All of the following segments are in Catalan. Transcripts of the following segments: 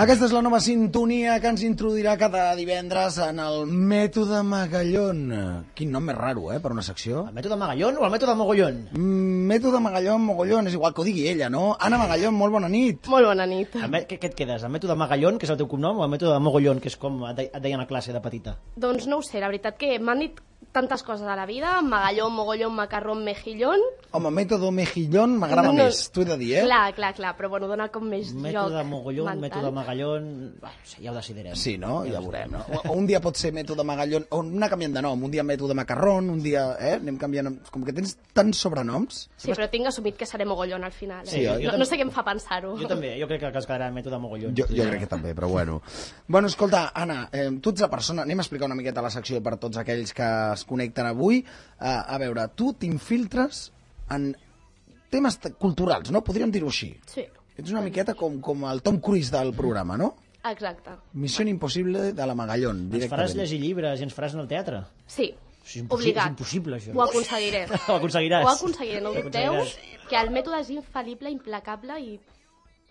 Aquesta és la nova sintonia que ens introduirà cada divendres en el Mètode Magallón. Quin nom més raro, eh, per una secció. El mètode Magallón o el mètode Mogollón? Mm, Mètode Magallón, mogollón, és igual que ho digui ella, no? Ana Magallón, molt bona nit. Molt bona nit. El mè- Què, què et quedes? El mètode Magallón, que és el teu cognom, o el mètode Mogollón, que és com et de- et deien a classe de petita? Doncs no ho sé, la veritat que m'han dit tantes coses a la vida, magallón, mogollón, macarrón, mejillón... Home, Mètode Mejillón m'agrada No, no. més, t'ho he de dir, eh? Clar, clar, clar, però bueno, dona com més Mètode joc Mogollón, mental. mètode Magallón... Bueno, no sé, ja ho decidirem. Sí, no? Ja ho veurem, no? O- o Un dia pot ser Mètode Magallón, o anar canviant de nom, un dia Mètode Macarrón, un dia... Eh? Anem canviant... noms. Com que tens tants sobrenoms... Sí, però tinc assumit que seré mogollón al final. Eh? Sí, jo- jo no, també- no sé què em fa pensar-ho. Jo també, jo crec que es quedarà el mètode Mogollón. Jo, jo crec que també, però bueno. Bueno, escolta, Anna, eh, tu ets la persona... Anem a explicar una miqueta la secció per tots aquells que es connecten avui. Eh, a veure, tu t'infiltres en temes te- culturals, no? Podríem dir-ho així. Sí, Ets una miqueta com, com el Tom Cruise del programa, no? exacte. Missió impossible de la Magallón, Ens faràs directament. llegir llibres i ens faràs anar al teatre. Sí, Això és impossi- obligat. és impossible, això. Ho aconseguiré. Ho aconseguiràs. Ho aconseguiré, no ho Ho dubteu, aconseguiràs. que el mètode és infal·lible, implacable i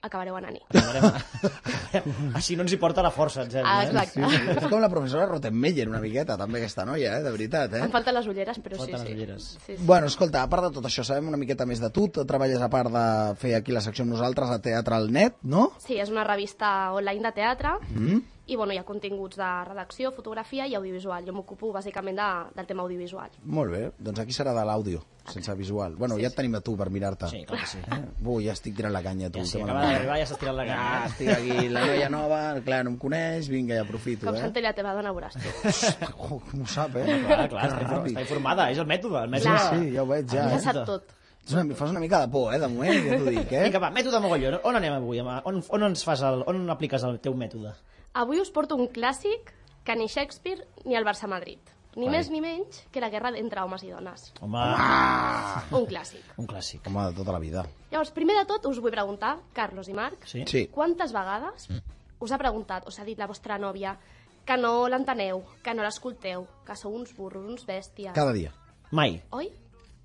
acabareu anant-hi. Eh? Acabarem- Així no ens hi porta la força, em sembla. eh? Ah, Exacte. És com la professora Rottenmeier, una miqueta, també, aquesta noia, eh? de veritat, eh? Em falten les ulleres, però sí, Falten sí. les ulleres. Sí, sí. Bueno, escolta, a part de tot això, sabem una miqueta més de tu. Tu treballes a part de fer aquí la secció amb nosaltres a Teatre al Net, no? Sí, és una revista online de teatre mm. i bueno, hi ha continguts de redacció, fotografia i audiovisual. Jo m'ocupo bàsicament de, del tema audiovisual. Molt bé, doncs aquí serà de l'àudio, sense visual. Bueno, ja et tenim a tu per mirar-te. Sí, clar que sí. Eh? Ui, ja estic tirant la canya, tu. Ja sí, que acaba mala d'arribar, ja s'ha estirat la mare. Ah, gana. estic aquí, la noia nova, clar, no em coneix, vinga, ja aprofito, Com eh? s'entén la teva dona, veuràs tu. Hosti, oh, com ho sap, eh? Clar, clar, Que està, inform- ràpid. està informada, és el mètode. El mètode. Clar. Sí, sí, ja ho veig, ja, Ja eh? sap tot. Ets Una, fas una mica de por, eh, de moment, ja t'ho dic, eh? Vinga, va, mètode mogolló. On anem avui? home? On, on, ens fas el, on apliques el teu mètode? Avui us porto un clàssic que ni Shakespeare ni el Barça Madrid. Ni Vale. més ni menys que la guerra entre homes i dones. Home, Un clàssic. un clàssic. Home, de tota la vida. Llavors, primer de tot, us vull preguntar, Carlos i Marc, Sí? Sí. Mm. quantes vegades us ha preguntat, us ha dit la vostra nòvia, que no l'enteneu, que no l'escolteu, que sou uns burros, uns bèsties... Cada dia. Mai. Oi?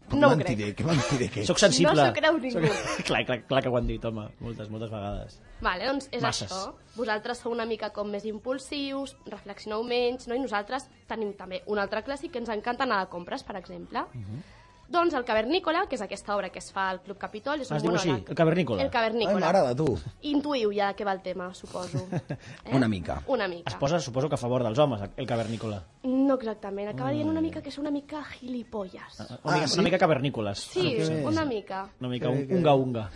Que No ho crec. mentider, que mentider que ets. Soc sensible. No s'ho creu ningú. Soc- clar, clar, clar que ho han dit, home. Moltes, moltes vegades. Vale, doncs és Masses. això. Vosaltres sou una mica com més impulsius, reflexioneu menys, no? i nosaltres tenim també un altre clàssic que ens encanta anar de compres, per exemple. Mhm. Doncs el Cavernícola, que és aquesta obra que es fa al Club Capitol... És Ah, un es diu així, monòleg. El Cavernícola. El Ai, Cavernícola. m'agrada, tu. Intuïu ja de què va el tema, suposo. Una mica. Una mica. Es posa, suposo que a favor dels homes, el cavernícola. No exactament, acaba dient una mica que és una mica gilipolles. Una, Ah, mica, sí? una mica cavernícoles. Sí, que bé. una mica. Una mica un, unga-unga.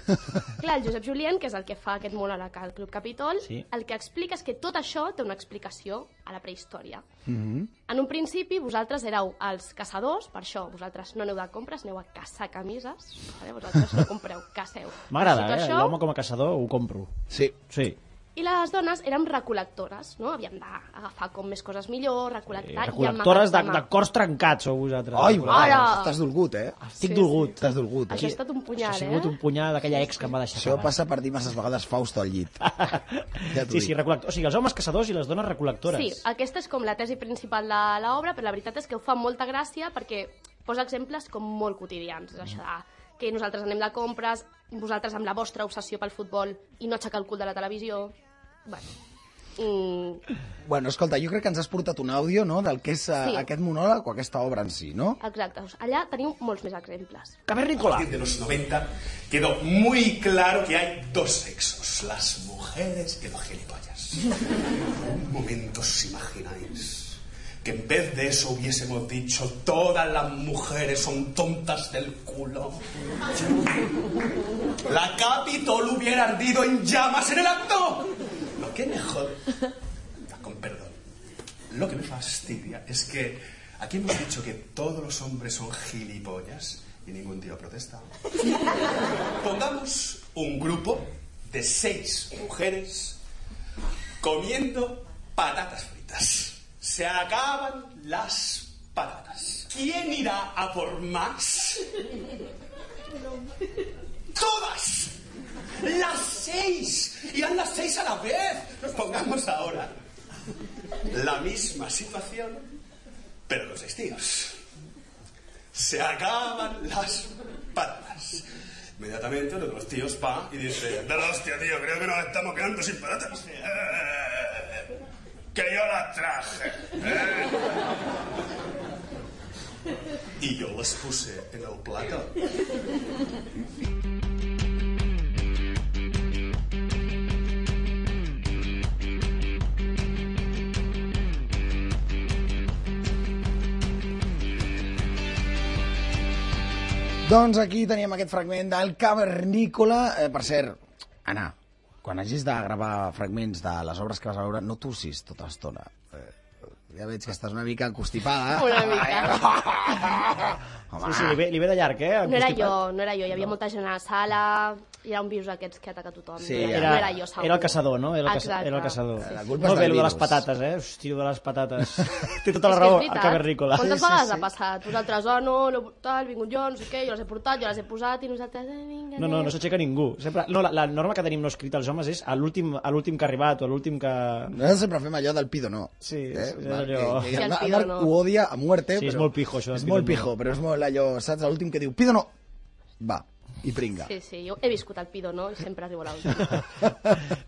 Clar, el Josep Julien, que és el que fa aquest monòleg al Club Capitol, Sí. el que explica és que tot això té una explicació a la prehistòria. Mhm. En un principi, vosaltres éreu els caçadors, per això vosaltres no aneu de compres, aneu a caçar camises, vale? vosaltres no compreu, caceu. M'agrada, Així que eh? això- L'home com a caçador ho compro. Sí. Sí. I les dones érem recol·lectores, no? Havíem d'agafar com més coses millor, Eh, recol·lectar i recol·lectores de, de emmagatzemar. cors trencats, sou vosaltres. Ai, Ara! mare, estàs dolgut, eh? Estic Sí, dolgut. Estàs dolgut, Això eh? ha estat un punyal, Això ha sigut eh? un punyal d'aquella ex que em va deixar. Això passa per dir masses vegades Fausto al llit. Ja t'ho sí, sí, dic. recol·lectors. O sigui, els homes caçadors i les dones recol·lectores. Sí, aquesta és com la tesi principal de l'obra, però la veritat és que ho fa amb molta gràcia perquè posa exemples com molt quotidians. És això de que nosaltres anem de compres, vosaltres amb la vostra obsessió pel futbol i no aixecar el cul de la televisió... Bueno, mm, Bueno, escolta, jo crec que ens has portat un àudio, no?, del que és eh, Sí. aquest monòleg o aquesta obra en si, no? exacte, doncs allà teniu molts més exemples. Cavernícola. partir de los 90 quedó muy claro que hay dos sexos, las mujeres y los gilipollas. Un momento os imagináis que en vez de eso hubiésemos dicho todas las mujeres son tontas del culo. La Capitol hubiera ardido en llamas en el acto. Lo que me jode, con perdón, lo que me fastidia es que aquí hemos dicho que todos los hombres son gilipollas y ningún tío protesta. Pongamos un grupo de seis mujeres comiendo patatas fritas. Se acaban las patatas. ¿Quién irá a por más? ¡Todas! ¡Las seis! ¡Irán las seis a la vez! Nos pongamos ahora la misma situación, pero los seis tíos. Se acaban las patatas. Inmediatamente uno de los tíos pa y dice, de la hostia, tío, creo que nos estamos quedando sin patatas. Eh, que yo las traje. eh". Y yo las puse en el plato. Doncs aquí teníem aquest fragment del Cavernícola. Eh, per cert, Anna, quan hagis de gravar fragments de les obres que vas a veure, no tossis tota l'estona. Eh, ja veig que estàs una mica constipada. eh? Una mica. Home, Sí, sí, li ve, li ve de llarg, eh? No era Constipat. jo, no era jo. Hi havia molta gent a la sala, hi ha un virus aquests que ataca tothom. Sí, no, era, ja. no era jo, segur. Era el caçador, no? Era el, caça, Exacte. era el caçador. La culpa és Molt bé, del lo de virus. les patates, eh? Hosti, lo de les patates. Té tota És la que és raó, el veritat. cavernícola. Quantes Sí, sí, vegades sí. ha passat? Vosaltres, oh, no, l'he portat, he vingut jo, no sé què, jo les he portat, jo les he posat, i nosaltres, eh, vinga, No, no, no s'aixeca ningú. Sempre... No, la, la norma que tenim no escrita als homes és a l'últim a l'últim que ha arribat o a l'últim que... Nosaltres sempre fem allò del pido no. Sí, sí, és allò. Que, Sí, que el el Marc pido no. ho odia a muerte. Sí, és però- molt pijo, això del És pido molt no. pijo, però és molt allò, saps? L'últim que diu, pido no. Va, i pringa. Sí, sí, jo he viscut el pido, no? I sempre arribo a l'últim.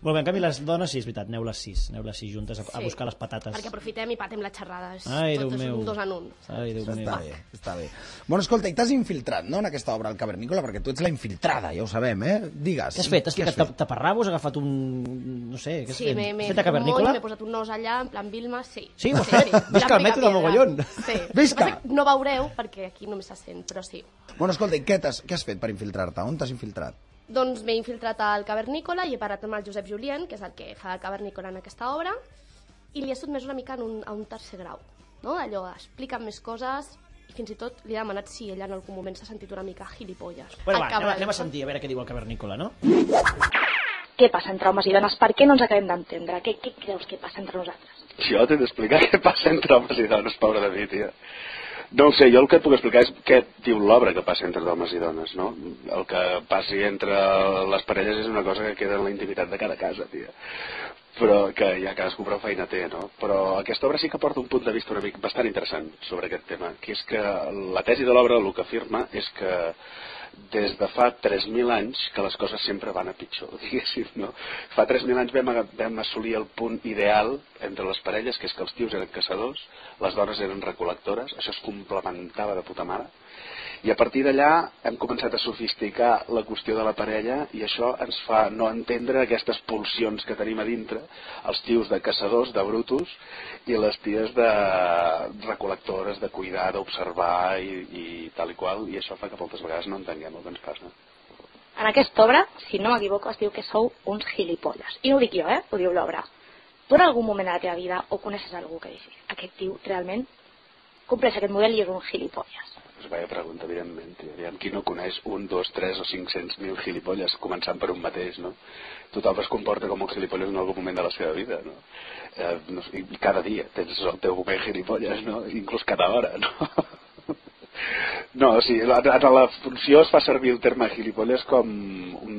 Molt bé, en canvi les dones sí, és veritat, aneu les sis, aneu les sis juntes a, a Sí. buscar les patates. Perquè aprofitem i patem les xerrades. Ai, Déu Tot és meu. un dos en un. Ai, Déu Això meu. està bé, està bé. Bueno, escolta, i t'has infiltrat, no?, en aquesta obra, el Cavernícola, perquè tu ets la infiltrada, ja ho sabem, eh? Digues. Què has fet? Has Què ficat tap- taparrabos? Has agafat un... no sé, què has Sí, fet? m'he m'he- Has fet de cavernícola? molt, m'he posat un nos allà, en plan Vilma, sí. Sí, ho has fet? Visca el L'Àfrica mètode Piedra. mogollón. Sí. Visca! El que passa és que No veureu, perquè aquí només se sent, però sí. Bueno, escolta, i què, t'has- què has fet per infiltrar-te? On t'has infiltrat? Doncs m'he infiltrat al cavernícola i he parat amb el Josep Julien, que és el que fa el cavernícola en aquesta obra, i li he sotmès una mica en un, a un tercer grau, no? Allò, explica'm més coses, i fins i tot li he demanat si ella en algun moment s'ha sentit una mica gilipolles. Bueno, El va, anem, cabral. a- anem a sentir a veure què diu el cavernícola, no? Eh? Què passa entre homes i dones? Per què no ens acabem d'entendre? Què, què creus que passa entre nosaltres? Jo t'he d'explicar què passa entre homes i dones, pobre de mi, tia. No ho sé, jo el que et puc explicar és què diu l'obra que passa entre homes i dones, no? El que passi entre les parelles és una cosa que queda en la intimitat de cada casa, tia. Però que ja cadascú prou feina té, no? Però aquesta obra sí que porta un punt de vista una mica bastant interessant sobre aquest tema, que és que la tesi de l'obra el que afirma és que des de fa 3.000 anys que les coses sempre van a pitjor, diguéssim, no? Fa 3.000 anys vam, aga- vam assolir el punt ideal entre les parelles, que és que els tios eren caçadors, les dones eren recol·lectores, això es complementava de puta mare, i a partir d'allà hem començat a sofisticar la qüestió de la parella i això ens fa no entendre aquestes pulsions que tenim a dintre, els tios de caçadors, de brutos, i les ties de recol·lectores, de cuidar, d'observar i, i tal i qual, i això fa que moltes vegades no entenguem el que ens passa. En aquesta obra, si no m'equivoco, es diu que sou uns gilipolles. I no ho dic jo, eh? Ho diu l'obra. Tu en algun moment de la teva vida o coneixes algú que dius aquest tio realment compleix aquest model i és un gilipolles. Pues vaya Doncs pregunta, evidentment. Tio. Aviam, qui no coneix un, dos, tres o cinc-cents mil gilipolles, començant per un mateix, no? Tothom es comporta com un gilipolles en algun moment de la seva vida, no? Eh, no sé, i cada dia tens el teu moment gilipolles, no? Inclús cada hora, no? No, o sigui, la, la, la funció es fa servir el terme gilipolles com un,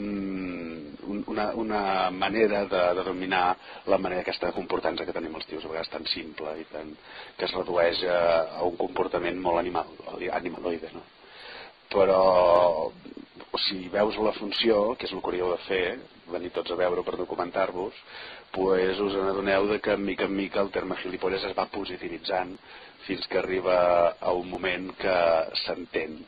un, una, una manera de, de dominar la manera aquesta de comportar-nos que tenim els tios, a vegades tan simple i tan, que es redueix a, a un comportament molt animal, animaloide, no? Però si veus la funció, que és el que hauríeu de fer, venir tots a veure per documentar-vos, pues us adoneu de que, de mica en mica, el terme gilipolles es va positivitzant fins que arriba a un moment que s'entén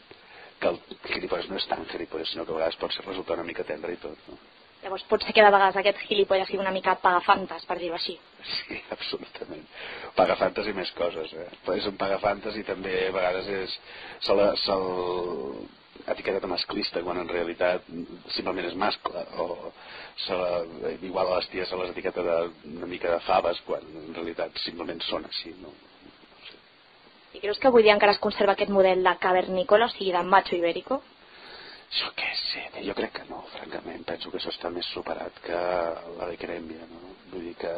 que el gilipolles no és tan gilipolles, sinó que a vegades pot ser resultar una mica tendre i tot. No? Llavors, potser que de vegades aquest gilipolles sigui una mica pagafantes, per dir-ho així. Sí, absolutament. Pagafantes i més coses, eh? Però És un pagafantes i també a vegades és... se l'ha se l- etiqueta de masclista quan en realitat simplement és mascle o se la, igual a les ties se les etiqueta de, una mica de faves quan en realitat simplement són així no? I creus que avui dia encara es conserva aquest model de cavernícola, o sigui, de macho ibérico? jo què sé, jo crec que no francament, penso que això està més superat que la de Crèmia no? vull dir que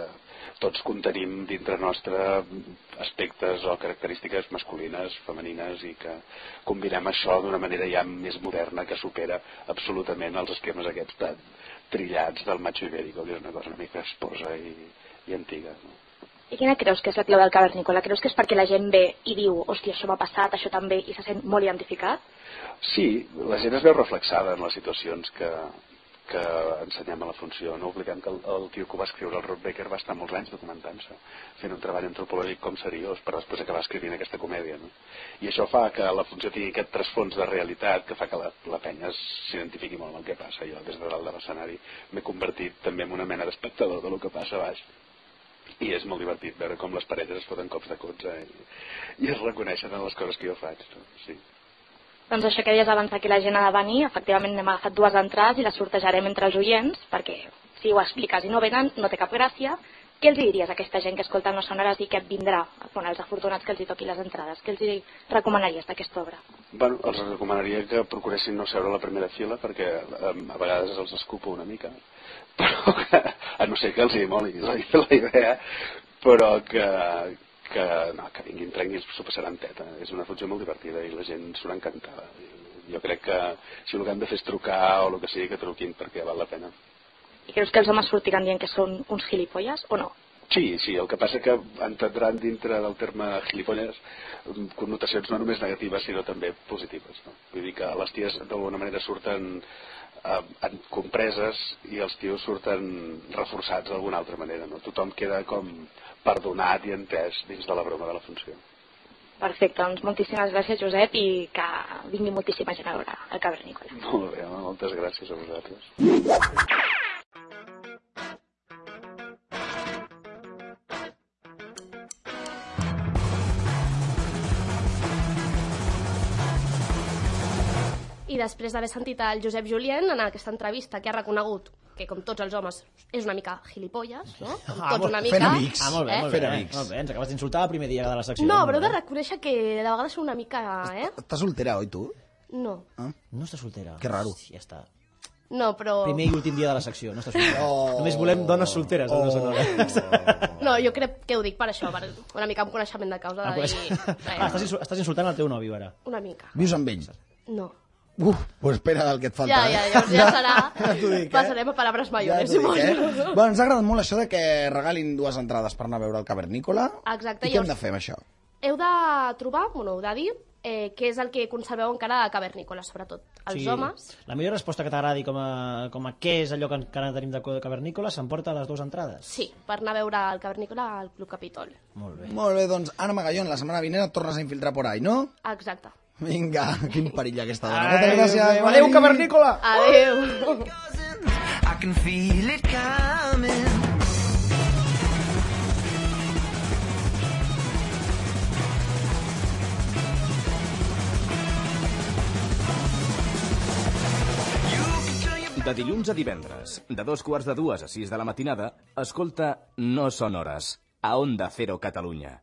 tots contenim dintre nostre aspectes o característiques masculines, femenines i que combinem això d'una manera ja més moderna que supera absolutament els esquemes aquests tan trillats del macho ibérico que és una cosa una mica esposa i, i antiga no? I quina creus que és la clau del cavernícola? Creus que és perquè la gent ve i diu, hòstia, això m'ha passat, això també, i se sent molt identificat? Sí, la gent es veu reflexada en les situacions que, que ensenyem a la funció. No oblidem que el, el tio que ho va escriure, el Rod Baker, va estar molts anys documentant-se, fent un treball antropològic com seriós, per després acabar escrivint aquesta comèdia. No? I això fa que la funció tingui aquest trasfons de realitat que fa que la, la penya s'identifiqui molt amb el que passa. Jo, des de dalt de l'escenari, m'he convertit també en una mena d'espectador del que passa a baix. I és molt divertit veure com les parelles es foten cops de cotxe i, i es reconeixen en les coses que jo faig. No? Sí. Doncs això que deies abans que la gent ha de venir, efectivament n'hem agafat dues entrades i les sortejarem entre els oients, perquè si ho expliques i no venen, no té cap gràcia. Què els hi diries a aquesta gent que escolta No sonaràs i que et vindrà, bueno, els afortunats que els hi toqui les entrades? Què els hi recomanaries d'aquesta obra? Bueno, els recomanaria que procuressin no seure a la primera fila perquè eh, a vegades els escupo una mica, però que, a no sé que els hi moli la, la idea, però que, que, no, que vinguin tranquils, s'ho passaran teta. És una funció molt divertida i la gent surt encantada. Jo crec que si el que hem de fer és trucar o el que sigui, que truquin perquè val la pena. I creus que els homes sortiran dient que són uns gilipolles o no? Sí, sí, el que passa que entendran dintre del terme gilipolles mm, connotacions no només negatives sinó també positives. No? Vull dir que les ties d'alguna manera surten eh, en compreses i els tios surten reforçats d'alguna altra manera. No? Tothom queda com perdonat i entès dins de la broma de la funció. Perfecte, doncs moltíssimes gràcies, Josep, i que vingui moltíssima gent a veure el Cavernícola. Molt bé, home, moltes gràcies a vosaltres. I després d'haver sentit el Josep Julien en aquesta entrevista que ha reconegut que com tots els homes és una mica gilipolles, no? Com Ah, tots molt- una fent mica... amics. Ah, molt bé, Eh? molt bé. Fer amics. Molt bé, ens acabes d'insultar el primer dia de la secció. Eh? No, Molt però heu de bé. reconèixer que de vegades són una mica... Eh? Estàs soltera, oi, tu? No, No està soltera. Que raro. Sí, ja està. no, però... Primer i últim dia de la secció, no està soltera. Oh. Només volem dones solteres. Oh. Dones No, jo crec que ho dic per això, per una mica amb coneixement de causa. De dir... ah, estàs, insu- estàs insultant el teu nòvio, ara. Una mica. Vius amb ell? No. Uf, pues espera del que et falta. Ja, ja, eh? ja, ja serà. t'ho dic, eh? Passarem a paraules Ja mayores, t'ho dic, eh? suposo. Bueno, ens ha agradat molt això de que regalin dues entrades per anar a veure el Cavernícola. Exacte, I què llavors- hem de fer amb això? Heu de trobar, bueno, heu de dir, eh, què és el que conserveu encara de cavernícola, sobretot. Els Sí. homes... La millor resposta que t'agradi com, a, com a què és allò que encara tenim de co- de cavernícola s'emporta les dues entrades. Sí, per anar a veure el cavernícola al Club Capitol. Molt bé. Molt bé, doncs, Anna Magallón, la setmana vinent et tornes a infiltrar por ahí, no? Exacte. Vinga, quin perill aquesta dona. Ai, Moltes gràcies. Déu meu. Adéu, Mari. cavernícola! Adéu. I can feel it coming. De dilluns a divendres, de dos quarts de dues a sis de la matinada, escolta No són hores, a Onda Cero Catalunya.